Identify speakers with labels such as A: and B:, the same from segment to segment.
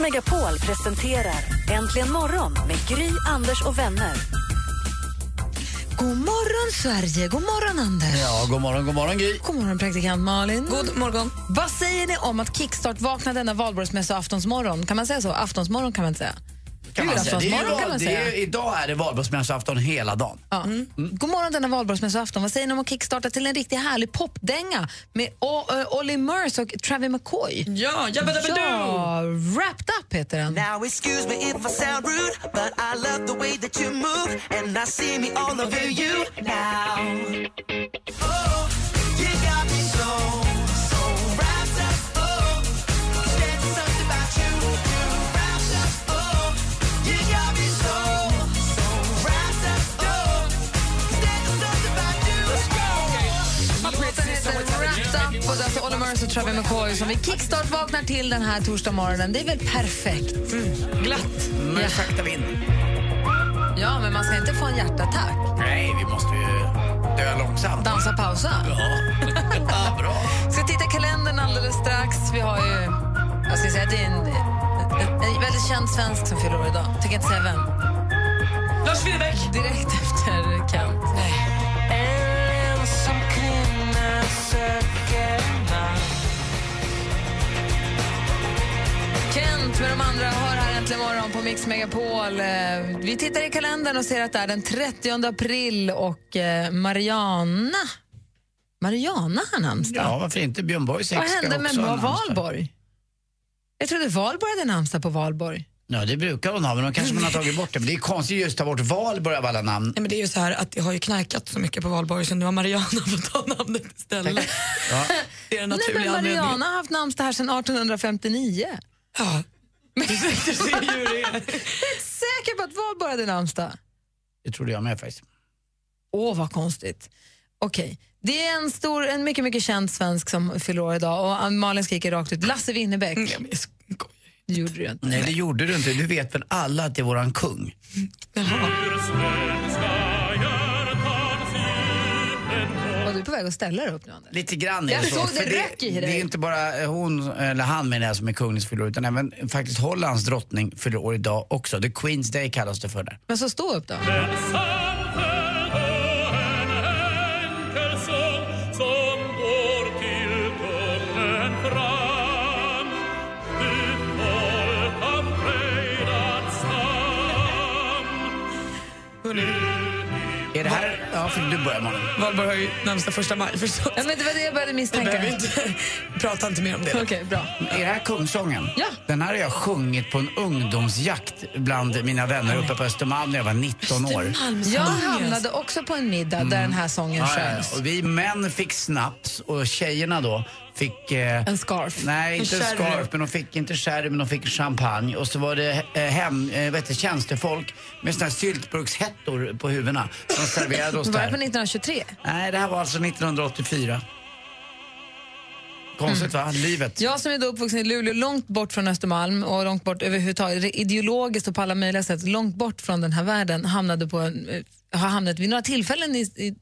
A: Megapol presenterar Äntligen morgon med Gry, Anders och vänner.
B: God morgon, Sverige! God morgon, Anders!
C: Ja, god morgon, god morgon Gry.
B: God morgon, praktikant Malin.
D: God morgon.
B: Vad säger ni om att Kickstart vakna denna valborgsmässoaftonsmorgon? Kan man säga så? Aftonsmorgon kan man inte säga.
C: Kan man säga. Det är,
B: Julaftonsmorgon alltså,
C: ju-
B: kan man
C: det är,
B: säga.
C: ju- idag är det valborgsmässoafton hela dagen.
B: Ja. Mm. God morgon denna valborgsmässoafton. Vad säger ni om att kickstarta till en riktigt härlig popdänga med o- ö, Olly Murs och Travis McCoy?
D: Ja, jabba dabba do!
B: Ja, Wrapped Up heter den.
E: Now excuse me if I sound rude, but I love the way that you move, and I see me all over you now. Oh, you got me so, so wrapped up. Oh, there's something about you, you wrapped up. Oh, you got me so, so wrapped up. Oh, there's something about you. Let's go.
B: Låten heter Wrapped Up och det är alltså Olly Murs och Travis McCoy som vi kickstart vaknar till den här torsdag morgonen. Det är väl perfekt? Mm.
D: Glatt.
C: Nu saktar vi in.
B: Ja, men man ska inte få en hjärtattack.
C: Nej, vi måste ju dö långsamt.
B: Dansa pausa.
C: Ja, bra.
B: Ska titta i kalendern alldeles strax. Vi har ju... Jag ska säga att det är en, en, en väldigt känd svensk som fyller år idag. Tänker inte säga vem.
D: Lars Winnerbäck!
B: Direkt efter Kent. Kent med de andra hör här äntligen morgon på Mix Megapol. Eh, Vi tittar i kalendern och ser att det är den 30 april och eh, Mariana... Mariana har namnsdag.
C: Ja, varför inte? Björn Borgs ex
B: Vad
C: ska
B: hände med
C: också ha namnsdag.
B: Valborg? Jag trodde Valborg hade namnsdag på Valborg.
C: Ja, det brukar hon ha, men de kanske man har tagit bort det. Men det är konstigt just att ta bort Valborg av alla namn.
D: Nej, men det är ju så här att det har ju knarkat så mycket på valborg så nu har Mariana fått ta namnet istället.
C: Ja.
D: Det är
B: Nej, men
D: den naturliga
B: Mariana
D: anledningen.
B: har haft namnsdag här sedan 1859.
D: Ja. Exakt, du ser ju hur det är.
B: Säker på att Valborg hade namnsdag?
C: Det trodde jag med faktiskt.
B: Åh, vad konstigt. Okej. Det är en, stor, en mycket, mycket känd svensk som fyller år idag och Malin skriker rakt ut Lasse Winnerbäck.
D: Nej, men Mm, jag skojar.
B: Det gjorde du ju inte.
C: Nej, det gjorde du inte. Du vet väl alla att det är våran kung?
D: Jaha.
B: Var du på väg att ställa dig upp nu, Anders?
C: Lite grann är
B: Jag
C: det så.
B: såg det
C: För
B: rök i
C: det
B: dig.
C: är inte bara eh, hon, eller han menar jag, som är kungens fyller år, utan även faktiskt Hollands drottning fyller år idag också. The Queen's Day kallas det för där.
B: Men så stå upp då.
C: Är det här... Ja, för du börjar Malin.
D: Valborg har ju namnsdag första maj förstås.
B: Ja, men det var det jag började
D: Vi
B: misstänka.
D: behöver
B: Okej,
D: inte prata inte mer om det.
B: bra.
C: Är det här Kungsången?
B: Ja.
C: Den här har jag sjungit på en ungdomsjakt bland mina vänner uppe på Östermalm när jag var 19 år.
B: Jag hamnade också på en middag där den här sången
C: Mm. Ja, ja,
B: sjöngs.
C: ja. Och vi män fick snaps och tjejerna då fick... eh,
B: En scarf.
C: Nej, inte en
D: sherry.
C: scarf, men de fick inte sherry, men de fick champagne. Och så var det eh, hem, eh, vet du, tjänstefolk med såna här syltburkshättor på huvudena som serverade oss
B: Var det på
C: där.
B: 1923?
C: Nej, det här var alltså 1984. Konstigt
B: Mm.
C: va? Livet.
B: Jag som är då uppvuxen i Luleå, långt bort från Östermalm och långt bort överhuvudtaget, ideologiskt och på alla möjliga sätt, långt bort från den här världen, hamnade på en, eh, har hamnat vid några tillfällen i, i,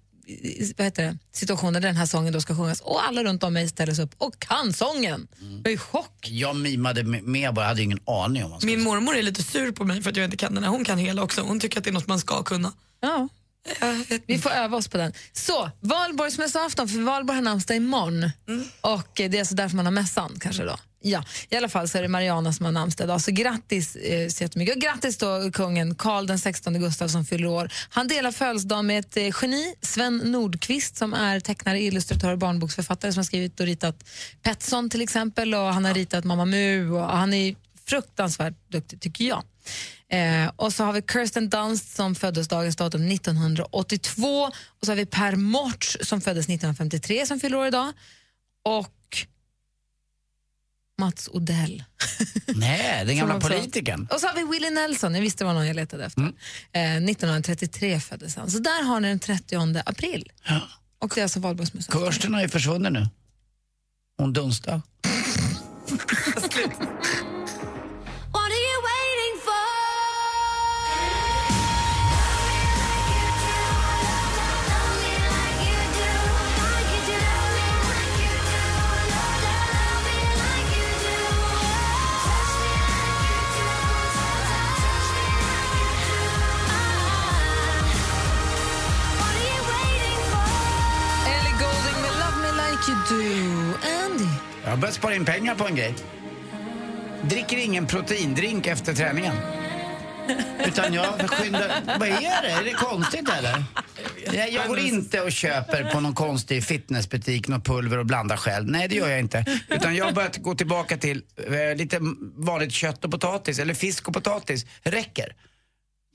B: i vad heter det, situationer där den här sången då ska sjungas och alla runt om mig ställer sig upp och kan sången.
C: Mm.
B: Jag är i chock.
C: Jag mimade med- med bara, jag hade ingen aning om vad
D: Min mormor är lite sur på mig för att jag inte kan den här. Hon kan hela också. Hon tycker att det är något man ska kunna.
B: Ja,
D: Jag vet
B: vi får öva oss på den. Så, valborgsmässoafton, för Valborg har namnsdag imorgon
D: Mm.
B: och eh, det är alltså därför man har mässan kanske då. Ja, i alla fall så är det Mariana som har namnsdag idag, så grattis eh, så jättemycket. Och grattis då kungen Carl den 16 Gustav som fyller år. Han delar födelsedag med ett eh, geni, Sven Nordqvist som är tecknare, illustratör och barnboksförfattare som har skrivit och ritat Petson till exempel och han har ritat Mamma Mu och han är fruktansvärt duktig tycker jag. Eh, och så har vi Kirsten Dunst som föddes dagens datum 1982 och så har vi Per Mortz som föddes 1953 som fyller år idag och Mats Odell.
C: Nej, den gamla
B: Som också-
C: politikern. Mm.
B: Och så har vi Willie Nelson, jag visste det var någon jag letade efter. Eh, 1933 föddes han. Så där har ni den 30 april.
C: Ja.
B: Och det är alltså valborgsmässoafton.
C: Kirsten har ju försvunnit nu. Hon Dunsta.
B: Ellie Goulding med Love Me Like You Do. Andy.
C: Jag har börjat spara in pengar på en grej. Dricker ingen proteindrink efter träningen. Utan jag skyndar... Vad är det? Är det konstigt eller? Nej, jag går inte och köper på någon konstig fitnessbutik något pulver och blandar själv. Nej, det gör jag inte. Utan jag har börjat gå tillbaka till eh, lite vanligt kött och potatis, eller fisk och potatis. Räcker.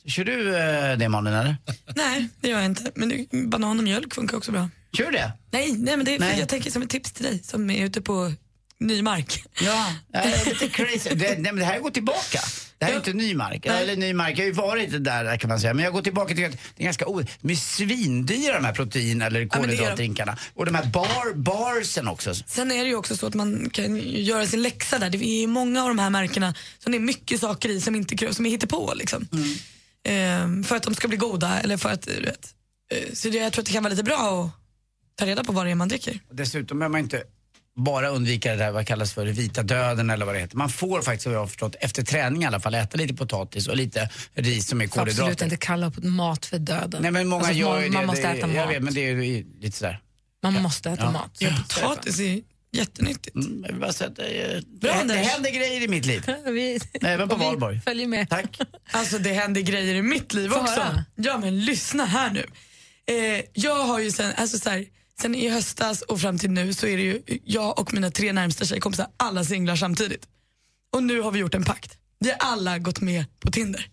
C: Kör du eh, det Malin eller?
D: Nej, det gör jag inte. Men det- banan och mjölk funkar också bra.
C: Kör du det?
D: Nej, nej men det är,
C: Nej.
D: jag tänker som ett tips till dig som är ute på ny mark.
C: Ja, det är lite crazy. Det, nej, men det här går tillbaka. Det här är inte ny mark. Eller ny mark. Jag har ju varit där kan man säga. Men jag går tillbaka till att det är ganska o... De är svindyra de här protein eller
D: men det är de.
C: kolhydratdrinkarna. Och de här bar, barsen också.
D: Sen är det ju också så att man kan ju göra sin läxa där. Det är ju många av de här märkena som det är mycket saker i som inte krävs, som är hittepå liksom. Ehm, för att de ska bli goda eller för att, du vet. Eh, så det, jag tror att det kan vara lite bra att ta reda på vad det är man dricker.
C: Dessutom behöver man inte bara undvika det där vad kallas för det vita döden eller vad det heter. Man får faktiskt, vad jag har förstått, efter träning i alla fall äta lite potatis och lite ris som är
B: Får absolut
C: kolhydrater.
B: inte kalla på mat för döden.
C: Nej men många
B: Alltså,
C: gör
B: man,
C: ju det.
B: man måste
C: det, är-
B: äta
C: Jag
B: mat.
C: vet, men det är ju lite sådär.
B: Man måste äta
C: Ja.
B: mat.
D: Ja, potatis är ju jättenyttigt.
C: Mm, jag vill bara säga att det, är- det,
D: Bra,
C: det
D: Anders.
C: händer grejer i mitt liv.
B: Vi,
C: Nej, men på
B: och vi
C: Valborg.
B: Följer med.
C: Tack.
D: Alltså det händer grejer i mitt liv
B: Få
D: också.
B: höra.
D: Ja men lyssna här nu. Eh, jag har ju sen, alltså så här, sen i höstas och fram till nu så är det ju jag och mina tre närmsta tjejkompisar alla singlar samtidigt. Och nu har vi gjort en pakt. Vi har alla gått med på Tinder.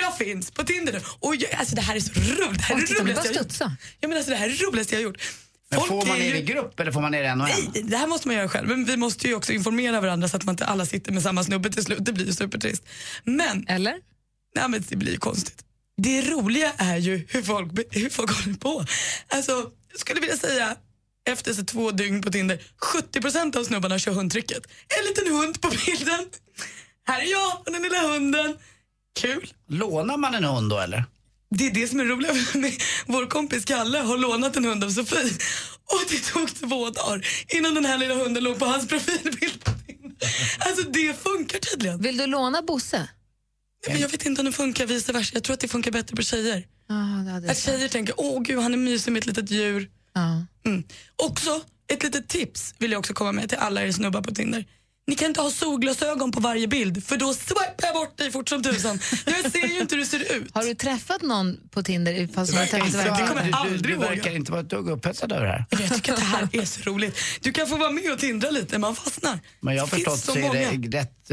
D: Jag finns på Tinder nu. Och jag, alltså det här är så roligt. Det här är
B: Åh,
D: det
B: titta, men bara
D: roligaste jag har gjort.
B: studsa.
D: Ja, men alltså, det här är det roligaste jag har gjort.
C: Men
D: Folk
C: får man
D: är
C: ner
D: ju-
C: i grupp eller får man ner en och en?
D: Nej, det här måste man göra själv. Men vi måste ju också informera varandra så att man inte alla sitter med samma snubbe till slut. Det blir ju supertrist. Men
B: Eller?
D: Nej men det blir ju konstigt. Det roliga är ju hur folk, be- hur folk håller på. Alltså, jag skulle vilja säga efter så två dygn på Tinder, 70% av snubbarna kör hundtricket. En liten hund på bilden. Här är jag och den lilla hunden. Kul.
C: Lånar man en hund då eller?
D: Det är det som är roligt för mig. Vår kompis Kalle har lånat en hund av Sofie och det tog två dagar innan den här lilla hunden låg på hans profilbild. på Tinder. Alltså det funkar tydligen.
B: Vill du låna Bosse?
D: Nej, Men jag vet inte om det funkar vice versa. Jag tror att det funkar bättre på tjejer.
B: Ja, det hade jag
D: Att tjejer tänker, åh gud han är mysig med ett litet djur.
B: Ja.
D: Mm. Också ett litet tips vill jag också komma med till alla er snubbar på Tinder. Ni kan inte ha solglasögon på varje bild för då swipar jag bort dig fort som tusan. Jag ser ju inte hur du ser ut.
B: Har du träffat någon på Tinder? Fast du har träffat
D: inte
B: verkligen-
D: det kommer jag
C: du, du, du
D: aldrig ihåg.
C: verkar inte vara ett dugg upphetsad över det här.
D: Jag tycker att det här är så roligt. Du kan få vara med och tindra lite, man fastnar.
C: Men jag har
D: Det finns
C: förstått
D: så
C: så är
D: många.
C: det rätt...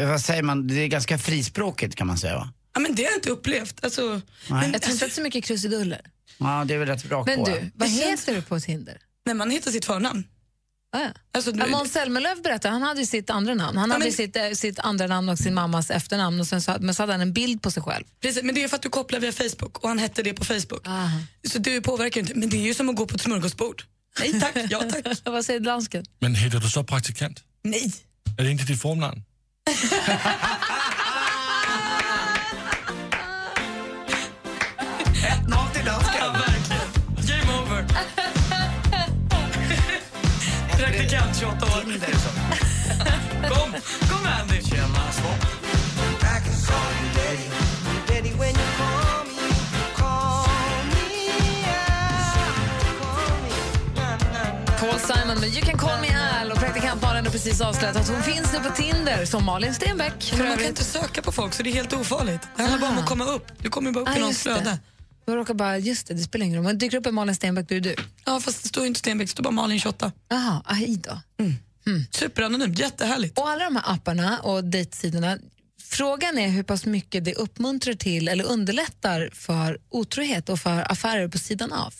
C: eh, vad säger man? Det är ganska frispråkigt kan man säga va?
D: Ja, men det har jag inte upplevt. Alltså, men,
B: Jag tror inte att det är så mycket krusiduller.
C: Ja, det är väl rätt rakt
B: Men
C: på.
B: du, vad
D: Det känns-
B: heter du på Tinder?
D: när man hittar sitt förnamn.
B: Ah, ja.
D: Alltså,
B: Ja,
D: du,
B: Måns Zelmerlöw berättade, han hade ju sitt andra namn. Han hade
D: men-
B: ju sitt, eh, sitt andra namn och sin mammas efternamn, och sen så, men så hade han en bild på sig själv.
D: precis, men det är för att du kopplar via Facebook och han hette det på Facebook.
B: Aha.
D: Så du påverkar ju inte. Men det är ju som att gå på ett smörgåsbord. Nej tack, ja tack.
B: Vad säger dansken?
F: Men heter du så praktikant?
D: Nej.
F: Är det inte ditt formnamn?
C: Något till dansken.
D: verkligen. Game over. Praktikant 28 år. Kom, kom Andy.
E: I can call you daddy. Daddy, when you call me, call me out. Call me. Na, na, na.
B: Paul Simon med You can call me Al och praktikant Malin har precis avslöjat att hon finns nu på Tinder som Malin Stenbeck. för
D: Men man kan
B: övrigt.
D: inte söka på folk så det är helt ofarligt. Det handlar bara om att komma upp. Du kommer ju bara upp i
B: Ah,
D: någons
B: just det.
D: flöde.
B: Jag råkar bara, just det, det spelar ingen roll. Men dyker upp en Malin Stenbeck, då är det du.
D: Ja fast det står ju inte Stenbeck, det står bara Malin 28.
B: Jaha, aj då. Mm.
D: Superanonymt, jättehärligt.
B: Och alla de här apparna och dejtsidorna, frågan är hur pass mycket det uppmuntrar till eller underlättar för otrohet och för affärer på sidan av.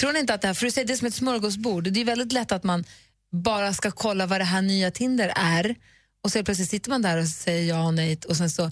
B: Tror ni inte att det här, för du säger det är som ett smörgåsbord, det är väldigt lätt att man bara ska kolla vad det här nya Tinder är och så helt plötsligt sitter man där och säger ja och nej och sen så,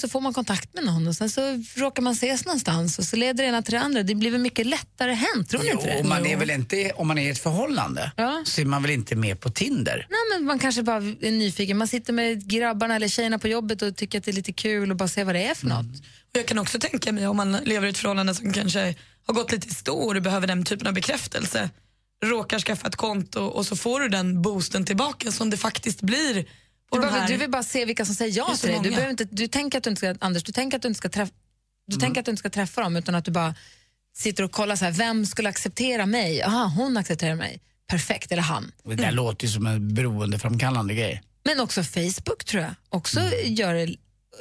B: så får man kontakt med någon och sen så råkar man ses någonstans och så leder det ena till det andra. Det blir väl mycket lättare hänt, tror ni inte det?
C: Jo, man är väl inte, om man är i ett förhållande
B: Ja.
C: så är man väl inte med på Tinder?
B: Nej, men man kanske bara är nyfiken. Man sitter med grabbarna eller tjejerna på jobbet och tycker att det är lite kul och bara ser vad det är
D: Mm.
B: för något.
D: Och jag kan också tänka mig om man lever i ett förhållande som kanske har gått lite i stå och du behöver den typen av bekräftelse. Råkar skaffa ett konto och så får du den boosten tillbaka som det faktiskt blir. På
B: Du,
D: de
B: bara,
D: här.
B: du vill bara se vilka som säger
D: Det
B: ja
D: är så
B: till dig. Du,
D: många.
B: behöver inte, du tänker att du inte ska, Anders, du tänker att du inte ska träffa du
D: Mm.
B: tänker att du inte ska träffa dem utan att du bara sitter och kollar så här, vem skulle acceptera mig? Aha, hon accepterar mig. Perfekt, eller han.
C: Det där låter ju som en beroendeframkallande grej.
B: Men också Facebook tror jag också
D: Mm.
B: gör det,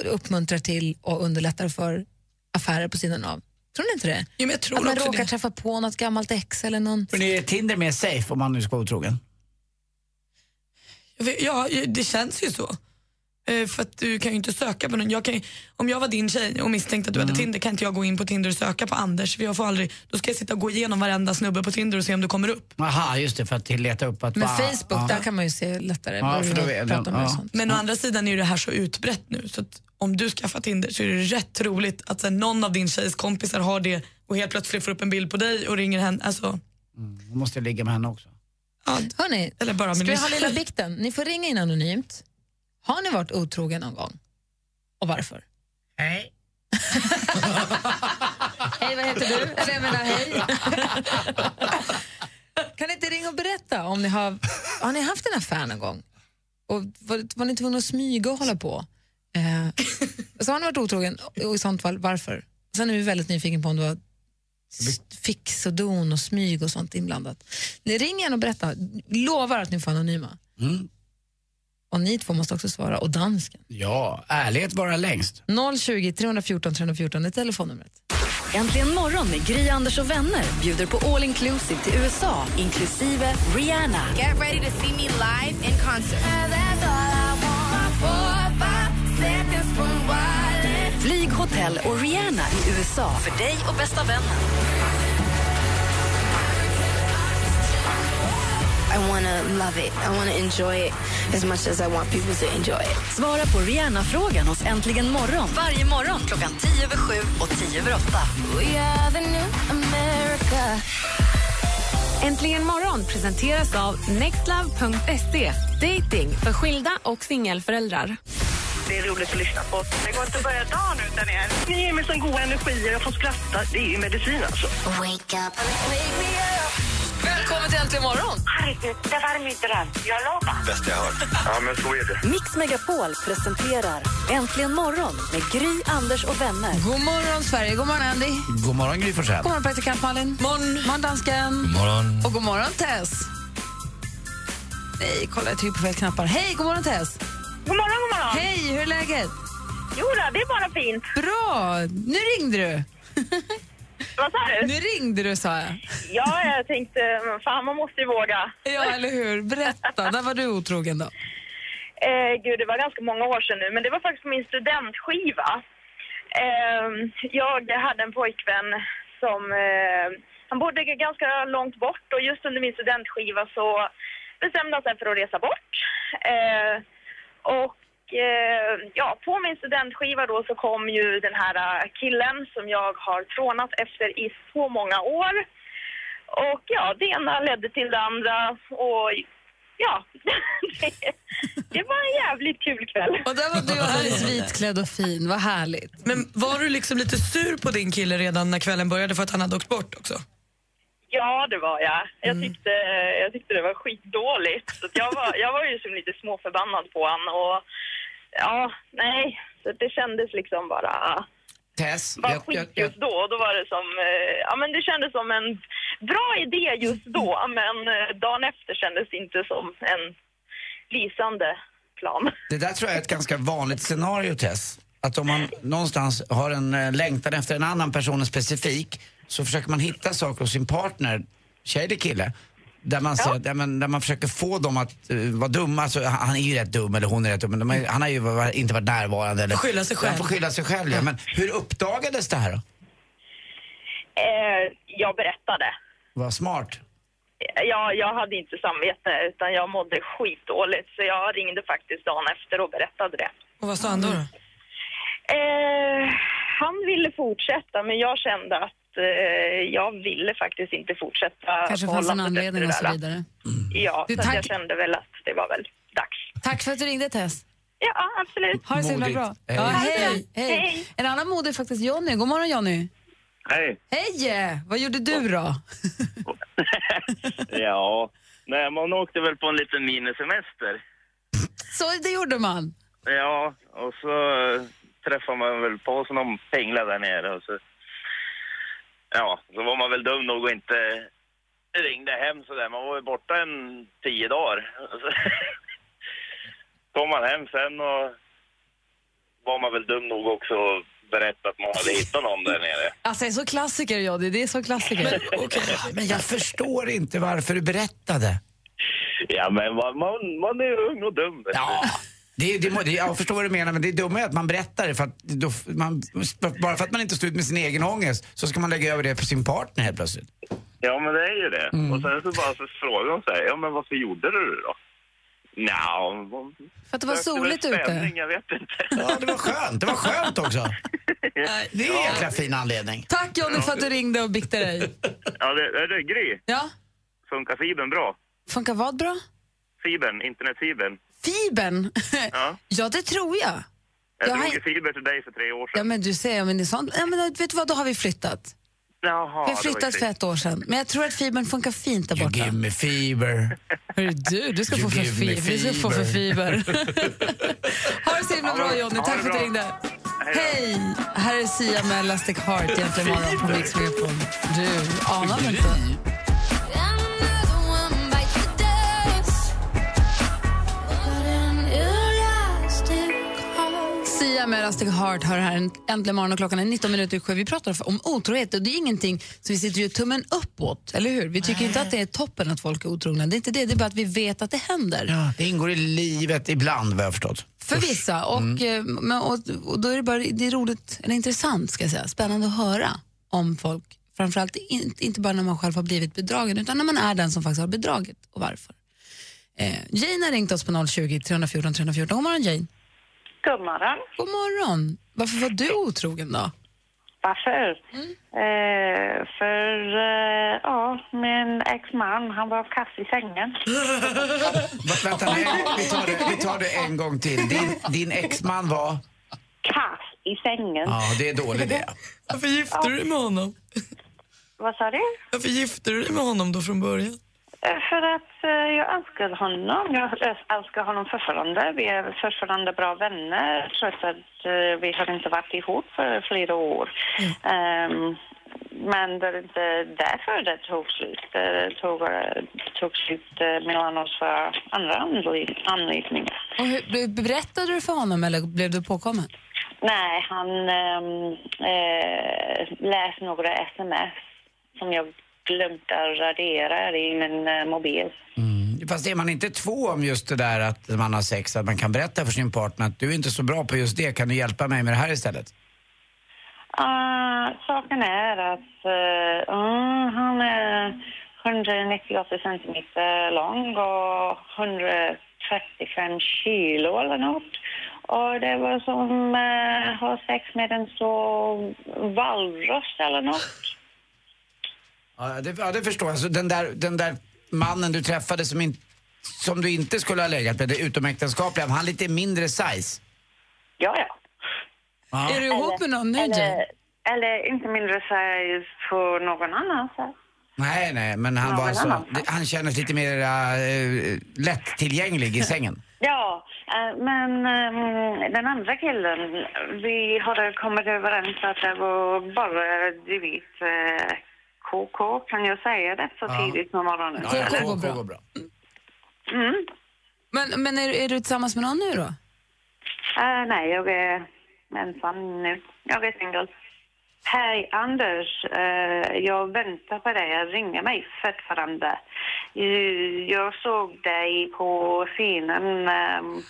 B: uppmuntrar till och underlättar för affärer på sidan av. Tror ni inte det?
D: Jo, men jag tror
B: Att man
D: också
B: råkar
D: det.
B: träffa på något gammalt ex eller någon
C: Men är Tinder mer safe om man nu ska vara otrogen?
D: Jag vet- Ja, ju- det känns ju så. Eh, För att du kan ju inte söka på någon. Jag kan, ju- om jag var din tjej och misstänkte att du hade Tinder kan inte jag gå in på Tinder och söka på Anders. För jag får aldrig, då ska jag sitta och gå igenom varenda snubbe på Tinder och se om du kommer upp.
C: Aha, just det, för att leta upp att...
B: Men
C: va-
B: Facebook,
C: ja.
B: där kan man ju se lättare
C: Ja,
B: vad
C: för
B: du
C: då vet
B: pratar
C: den,
B: om. och
C: ja.
B: sånt.
D: Men å andra sidan är ju det här så utbrett nu så att om du skaffar Tinder så är det rätt roligt att sen någon av din tjejs kompisar har det och helt plötsligt får upp en bild på dig och ringer henne. Alltså,
C: Då måste jag ligga med henne också.
D: ja,
B: Hörni,
D: eller bara
B: ska
D: min
B: vi ha
D: lilla
B: lilla bikten? Ni får ringa in anonymt. Har ni varit otrogen någon gång? Och varför?
C: Nej.
B: Hej, vad heter du? Eller jag menar hej. kan ni inte ringa och berätta om ni har, har ni haft en affär någon gång? Och var, var ni tvungna att smyga och hålla på? Eh, och så har ni varit otrogen och i sånt fall varför? Sen är vi väldigt nyfiken på om du har s- fix och don och smyg och sånt inblandat. Ni ringer igen och berätta. Lovar att ni får anonyma.
C: Mm.
B: Och ni två måste också svara, och dansken.
C: Ja, ärlighet bara längst.
B: 020 314 314 är telefonnumret.
A: Äntligen morgon med Gry, Anders och vänner bjuder på all inclusive till USA, inklusive Rihanna.
G: Get ready to see me live in concert.
A: Flyg, hotell och Rihanna i USA för dig och bästa vännen.
G: I want to love it. I want to enjoy it as much as I want people to enjoy it.
A: Svara på Rihanna-frågan hos Äntligen morgon varje morgon klockan 10 över 7 och 10 över 8.
G: We are the new America.
H: Äntligen morgon presenteras av nextlove.se. Dating för skilda och singelföräldrar.
I: Det är roligt att lyssna på. Det går inte att börja dagen utan er. Ni ger mig sån god energi och jag får skratta. Det är ju medicin alltså.
G: Wake up. Wake me up.
B: Välkommen till Äntligen morgon!
I: Herregud, det var min dröm. Jag lovar.
J: Bästa jag hört.
I: Ja, men så är det.
A: Mix Megapol presenterar Äntligen morgon med Gry, Anders och vänner.
B: God morgon, Sverige. God morgon, Andy.
C: God morgon Gry Forssell.
B: God morgon, praktikant Malin. Morgon. morgon, dansken.
F: Morgon.
B: Och god morgon, Tess. Nej, kolla, jag trycker på fel knappar. Hej, god morgon, Tess.
I: God morgon, god morgon.
B: Hej, hur är läget?
I: Jo då, det är bara fint.
B: Bra! Nu ringde du.
I: Vad sa du?
B: Nu ringde du, sa jag.
I: Ja, jag tänkte, fan man måste ju våga.
B: Ja, eller hur? Berätta, när var du otrogen då?
I: Eh, gud, det var ganska många år sedan nu, men det var faktiskt på min studentskiva. Eh, jag hade en pojkvän som... Eh, han bodde ganska långt bort och just under min studentskiva så bestämde han sig för att resa bort. Eh, och eh, ja, på min studentskiva då så kom ju den här eh, killen som jag har trånat efter i så många år. Och ja, det ena ledde till det andra och ja, det, det var en jävligt kul kväll.
B: Och där var du, Alice, vitklädd och fin. Vad härligt.
D: Men var du liksom lite sur på din kille redan när kvällen började för att han hade åkt bort också?
I: Ja, det var jag.
D: Mm.
I: Jag tyckte, eh, jag tyckte det var skitdåligt. Så att jag, var, jag var ju som lite småförbannad på honom och ja, nej. Så att det kändes liksom bara,
C: Tess,
I: bara skit just då. Och då var det som, eh, ja men det kändes som en bra idé just då. Men eh, dagen efter kändes det inte som en lysande plan.
C: det där tror jag är ett ganska vanligt scenario Tess. Att om man någonstans har en eh, längtan efter en annan person specifik så försöker man hitta saker hos sin partner, tjej eller kille, där man, säger, där man, där man försöker få dem att eh, vara dumma. Alltså, han han är ju rätt dum, eller hon är rätt dum, men de är, han har ju var- inte varit närvarande. Eller,
D: Skylla sig själv.
C: Han får skylla sig själv, ja. Men hur uppdagades det här då?
I: Eh, jag berättade.
C: Vad smart.
K: Ja, jag hade inte samvete utan jag mådde skitdåligt så jag ringde faktiskt dagen efter och berättade det.
B: Och vad sa han då? då?
K: Eh, han ville fortsätta men jag kände att eh, jag ville faktiskt inte fortsätta.
L: Kanske fanns en
K: förhållandet
L: anledning och
K: efter
L: så
K: det där.
L: vidare.
K: Ja,
B: Du,
K: så att jag
B: tack.
K: kände väl att det var väl dags.
B: Tack för att du ringde, Tess.
K: Ja, absolut.
B: Ha det så himla
M: Modigt.
B: bra.
M: Hej.
B: Ja, hej,
M: Hej.
B: hej. En annan modig är faktiskt Jonny. God morgon, Jonny.
M: Hej!
B: Hej! Vad gjorde du då?
M: Ja, nej, man åkte väl på en liten minisemester.
B: Så det gjorde man.
M: Ja, och så eh, träffade man väl på sig någon pengla där nere och så... Ja, så var man väl dum nog och inte ringde hem sådär. Man var ju borta en tio dagar. Och så kom man hem sen och var man väl dum nog också att berätta att man hade hittat någon där nere.
B: Alltså, jag är så klassiker, Jonny. Det är så klassiker.
C: Men jag förstår inte varför du berättade.
M: Ja, men man, man, man är ung och dum.
C: Ja. Det, är- det, må- det, jag förstår vad du menar, men det är dumma är att man berättar det. För att då, f- man, bara för att man inte står ut med sin egen ångest så ska man lägga över det på sin partner helt plötsligt.
M: Ja, men det är ju det.
N: Mm.
M: Och sen så bara så frågar hon så här, ja men varför gjorde du det då? Nja, hon-
B: För att det var
M: sökte väl
B: soligt ute.
M: spänning, Jag vet inte.
C: Ja, det var skönt. Det var skönt också. Det är en jäkla fin anledning.
B: Tack, Jonny, för att du ringde och biktade dig.
M: Ja, det, det är Gry.
B: Ja?
M: Funkar fibern bra?
B: Funkar vad bra?
M: Fibern, internetfibern.
B: Fibern?
M: Ja.
B: Ja, det tror jag.
M: Jag
B: Jag har-
M: drog ju fiber till dig för tre år sedan.
B: Ja, men du ser, men det är sånt. Ja, men eh, vet du vad, då har vi flyttat.
M: Jaha,
B: vi
M: det
B: har
M: var ju
B: flyttat för
M: fint.
B: ett år sedan. Men jag tror att fibern funkar fint där borta.
C: Give me fever.
B: Hörru du, du ska få för fiber. Du ska få för fiber. ha det så himla bra Jonny,
C: Ha
B: tack
C: det
B: för att du ringde.
C: bra.
B: Hej! Här är Sia med Elastic Heart egentligen imorgon på Mix Megapol. Du anar väl inte? Sia med Elastic Heart hör här en- äntligen morgon och klockan är 19 minuter i sju. Vi pratar om otrohet och det är ingenting som vi sitter ju tummen uppåt, eller hur? Vi tycker inte att det är toppen att folk är otrogna. Det är inte det, det är bara att vi vet att det händer.
C: Ja, det ingår i livet ibland, vad jag har förstått.
B: För vissa. Och, eh, men, och, och då är det bara det är roligt, eller intressant ska jag säga, spännande att höra om folk. Framförallt in, inte bara när man själv har blivit bedragen utan när man är den som faktiskt har bedragit och varför. Eh, Jane har ringt oss på 020 314 314. God morgon Jane.
D: God morgon.
B: God morgon. Varför var du otrogen då?
D: Varför? Eh, för, eh, ja, min exman, han var kass i sängen.
C: Va- Vänta, nej, vi, tar det, vi tar det en gång till. Din, din exman var...
D: kass i sängen.
C: Ja, det är dåligt det.
O: Varför gifte du dig med honom?
D: Vad sa du?
O: Varför gifte du dig med honom då från början?
D: Eh, För att eh, jag älskar honom. Jag eh, älskar honom fortfarande. Vi är fortfarande bra vänner trots att eh, vi har inte varit ihop för flera år. Ehm, men det är inte därför det tog slut. Det tog, eh, tog slut eh, mellan oss för andra anle- anledningar.
B: Och hur, be- berättade du för honom eller blev du påkommen?
D: Nej, han um, eh, läste några sms som jag glömde radera i min eh, mobil.
C: Mm. Fast är man inte två om just det där att man har sex, att man kan berätta för sin partner att du är inte så bra på just det, kan du hjälpa mig med det här istället?
D: Ah, saken är att eh, mm, han är 198 centimeter lång och 135 kilo eller något. Och det var som uh, ha sex med en så valros eller något.
C: Ja, det, ja, det förstår jag. Så den där, den där mannen du träffade som, in, som du inte skulle ha legat med, det utomäktenskapliga, han lite mindre size?
D: Ja, ja.
C: Ja.
B: Är du ihop med någon nu
D: eller,
B: Jane?
D: eller inte mindre size på någon annan. Så.
C: Nej, nej, men han
D: Ja,
C: var
D: men
C: alltså,
D: annan.
C: det- han kändes lite mer eh, lättillgänglig i sängen.
D: Ja, eh, men ehm, den andra killen, vi hade kommit överens att det var bara, du vet, eh, KK, kan jag säga det så
B: Ja.
D: tidigt på morgonen?
B: Ja, ja, KK går bra.
D: Mm.
B: Men, men är, är du tillsammans med någon nu då?
D: Eh, nej, jag är ensam nu. Jag är singel. Hej Anders, Eh, jag väntar på dig. Jag ringer mig fortfarande. Eh, jag såg dig på scenen ehm,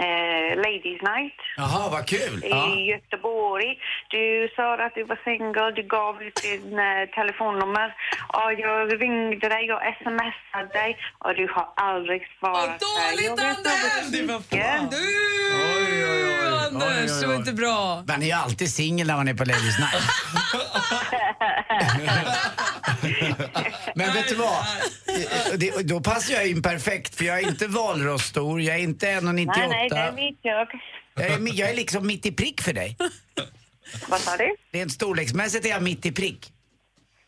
D: eh, Ladies Night
C: Jaha, vad kul!
D: i
C: Ja.
D: Göteborg. Du sa att du var singel, du gav ut din eh, äh, telefonnummer
P: Och jag ringde dig, jag smsade dig och du har aldrig svarat mig. Jag vet
B: Anders!
P: Vad fan?
C: Oj, oj, oj.
B: Anders, det var inte bra.
C: Man är ju alltid singel när man är på Ladies Night. Men vet du vad? Det, då passar jag in perfekt för jag är inte valrosstor, jag är inte 1,98.
P: Nej, nej, det är mitt jag.
C: Jag är, mi- jag är liksom mitt i prick för dig.
P: Vad sa du?
C: Rent storleksmässigt är jag mitt i prick.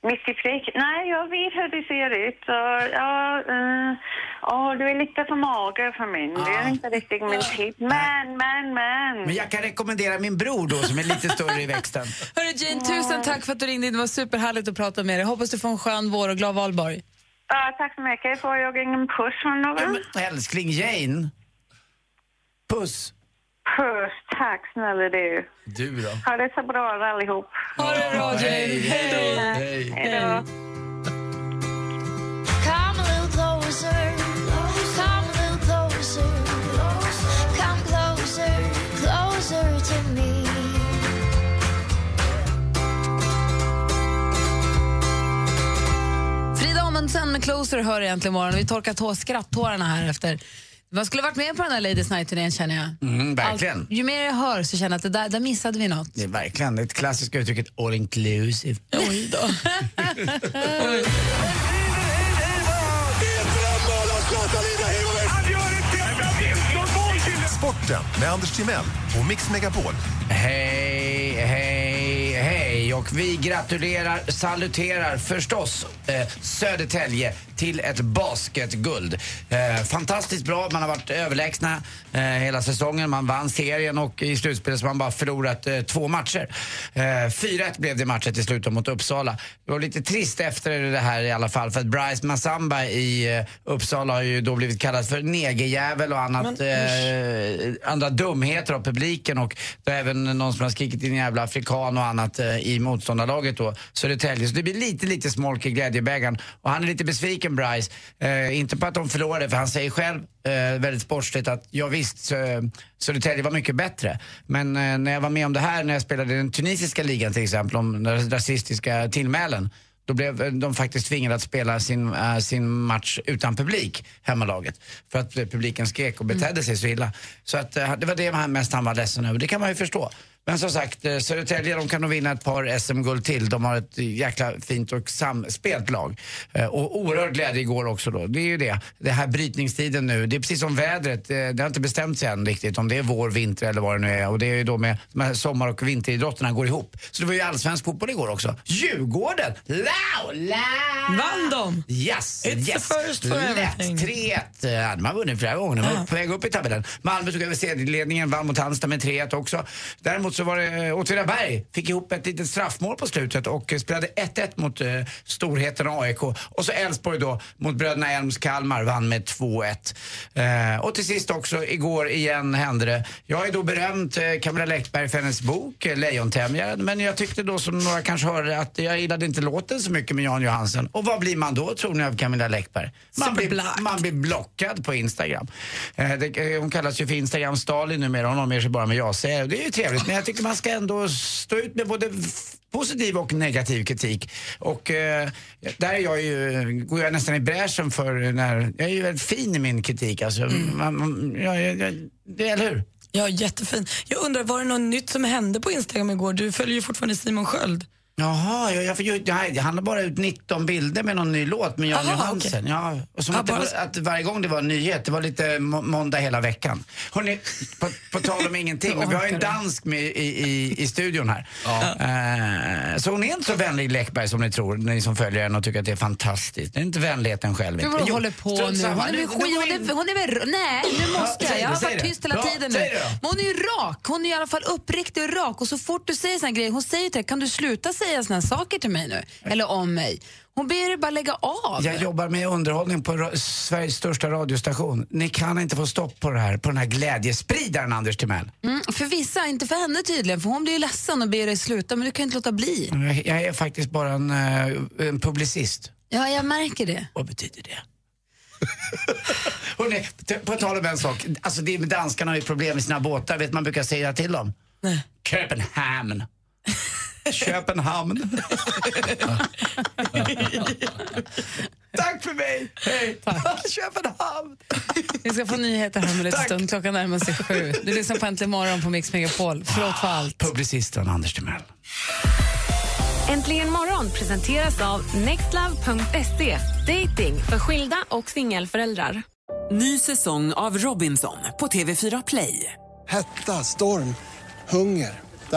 P: Mitt i prick? Nej, jag vet hur du ser ut. Och, ja, eh, ja, du är lite för mager för min Det är inte riktigt min typ. Men, men, men.
C: Men jag kan rekommendera min bror då som är lite större i växten.
B: Hörru Jane, tusen tack för att du ringde in. Det var superhärligt att prata med dig. Hoppas du får en skön vår och glad valborg.
P: Ja, tack så mycket. Får jag ingen puss från någon?
C: Älskling Jane. Puss.
P: Puss. Tack snälla du.
C: Du då?
P: Ha det så bra allihop.
B: Ha det bra, Jane. Hej då.
P: Hej då.
Q: Come a little closer. Come a little closer. Come closer, closer to me.
B: Frida Amundsen med Closer hör egentligen morgon. Vi torkar tå, skrattårarna här efter. Man skulle varit med på den här Ladies Night-turnén känner jag.
C: Mm, verkligen.
B: Allt- ju mer jag hör så känner jag att det där, där missade vi något.
C: Det är verkligen det klassiska uttrycket all inclusive.
B: Oj då.
R: Sporten med Anders Timell och Mix Megapol.
C: Hej, hej, hej. Och vi gratulerar, saluterar förstås eh, Södertälje till ett basketguld. Eh, fantastiskt bra, man har varit överlägsna eh, hela säsongen. Man vann serien och i slutspelet så har man bara förlorat eh, två matcher. Eh, 4-1 blev det matchen till slut då mot Uppsala. Det var lite trist efter det här i alla fall för att Bryce Massamba i eh, Uppsala har ju då blivit kallad för negerjävel och annat, eh, andra dumheter av publiken och det är även någon som har skrikit in jävla afrikan och annat eh, i motståndarlaget då, Södertälje. Så det blir lite, lite smolk i glädjebägaren och han är lite besviken Bryce. Eh, inte på att de förlorade för han säger själv eh, väldigt sportsligt att ja visst Sö- Södertälje var mycket bättre. Men eh, när jag var med om det här när jag spelade i den tunisiska ligan till exempel om rasistiska tillmälen då blev de faktiskt tvingade att spela sin, eh, sin match utan publik, hemmalaget. För att eh, publiken skrek och betedde sig så illa. Så att, eh, det var det han mest han var ledsen över. Det kan man ju förstå. Men som sagt, eh, Södertälje de kan nog vinna ett par SM-guld till. De har ett jäkla fint och samspelt lag. Eh, Och oerhörd glädje igår också då. Det är ju det. Det här brytningstiden nu. Det är precis som vädret. eh, Det har inte bestämt sig än riktigt om det är vår, vinter eller vad det nu är. Och det är ju då med de här sommar och vinteridrotterna går ihop. Så det var ju allsvensk fotboll igår också. Djurgården! Lao! Lao!
D: Vann de?
C: Yes!
D: It's the
C: yes.
D: first for
C: Lätt!
D: everything.
C: 3-1. Eh, hade man vunnit flera gånger. De var på väg upp i tabellen. Malmö tog över sedelledningen, vann mot Halmstad med 3-1 också. Däremot så var det eh, Åtvidaberg, fick ihop ett litet straffmål på slutet och eh, spelade 1-1 mot eh, storheten AIK. Och så Elfsborg då mot bröderna Elms Kalmar, vann med 2-1. Eh, och till sist också, igår igen hände det. Jag är då berömt eh, Camilla Läckberg för hennes bok eh, Lejontämjaren. Men jag tyckte då som några kanske hörde att jag gillade inte låten så mycket med Jan Johansen. Och vad blir man då tror ni av Camilla Läckberg? Man blir, man blir blockad på Instagram. Eh, det, eh, hon kallas ju för Instagram Stalin numera. Hon omger sig bara med jag säger. Det är ju trevligt men jag tycker man ska ändå stå ut med både f- positiv och negativ kritik. Och eh, där är jag ju, går jag nästan i bräschen för när, jag är ju väldigt fin i min kritik alltså. Man, man, jag, jag, jag, det, eller hur?
D: Ja, jättefin. Jag undrar, var det något nytt som hände på Instagram igår? Du följer ju fortfarande Simon Sköld.
C: Jaha, jag, jag, jag, jag, jag hann bara ut 19 bilder med någon ny låt med Jan
D: Aha,
C: Johansen.
D: okej.
C: Ja, och som
D: Ja,
C: att, det
D: bara
C: var,
D: så-
C: att varje gång det var en nyhet, det var lite må- måndag hela veckan. Hörrni, på, på tal om ingenting, men vi har ju en dansk med i, i, i studion här. Eh, så hon är inte så vänlig Läckberg som ni tror, ni som följer henne och tycker att det är fantastiskt. Det är inte vänligheten själv.
B: Gud
C: inte.
B: vad hon
C: Jo,
B: håller på nu.
C: strunt
B: Hon är,
C: samma.
B: väl
C: Nu- nu
B: skit-
C: går
B: hon
C: vi
B: är,
C: in-
B: väl- hon är väl... Nej, nu måste jag.
C: Ja,
B: Jag
C: säg det,
B: har
C: säg
B: varit
C: det.
B: tyst hela
C: Ja,
B: tiden
C: säg
B: nu.
C: det då.
B: Men hon är ju rak. Hon är i alla fall uppriktig och rak. Och så fort du säger såna här grejer, hon säger till dig, kan du sluta säga såna här saker till mig nu? Eller om mig. Hon ber dig bara lägga av.
C: Jag jobbar med underhållning på ra- Sveriges största radiostation. Ni kan inte få stopp på det här, på den här glädjespridaren Anders Timell.
B: Mm, för vissa, inte för henne tydligen, för hon blir ju ledsen och ber dig sluta, men du kan ju inte låta bli.
C: Jag, jag är faktiskt bara en, eh, en publicist.
B: Ja, jag märker det.
C: Vad betyder det? Hörrni, t- på tal om en sak. Alltså det är, danskarna har ju problem med sina båtar. Vet man brukar säga till dem? Nej. Köpenhamn. Köpenhamn. Tack för mig! Hej! Köpenhamn!
B: Vi ska få nyheter här med en stund. Klockan närmar sig sju. Du lyssnar på Äntligen morgon på Mix Megapol. Förlåt för allt.
C: Publicisten Anders Timell.
A: Äntligen morgon presenteras av nextlove.se. Dating för skilda och singelföräldrar.
N: Ny säsong av Robinson på TV4 Play.
S: Hetta, storm, hunger. Det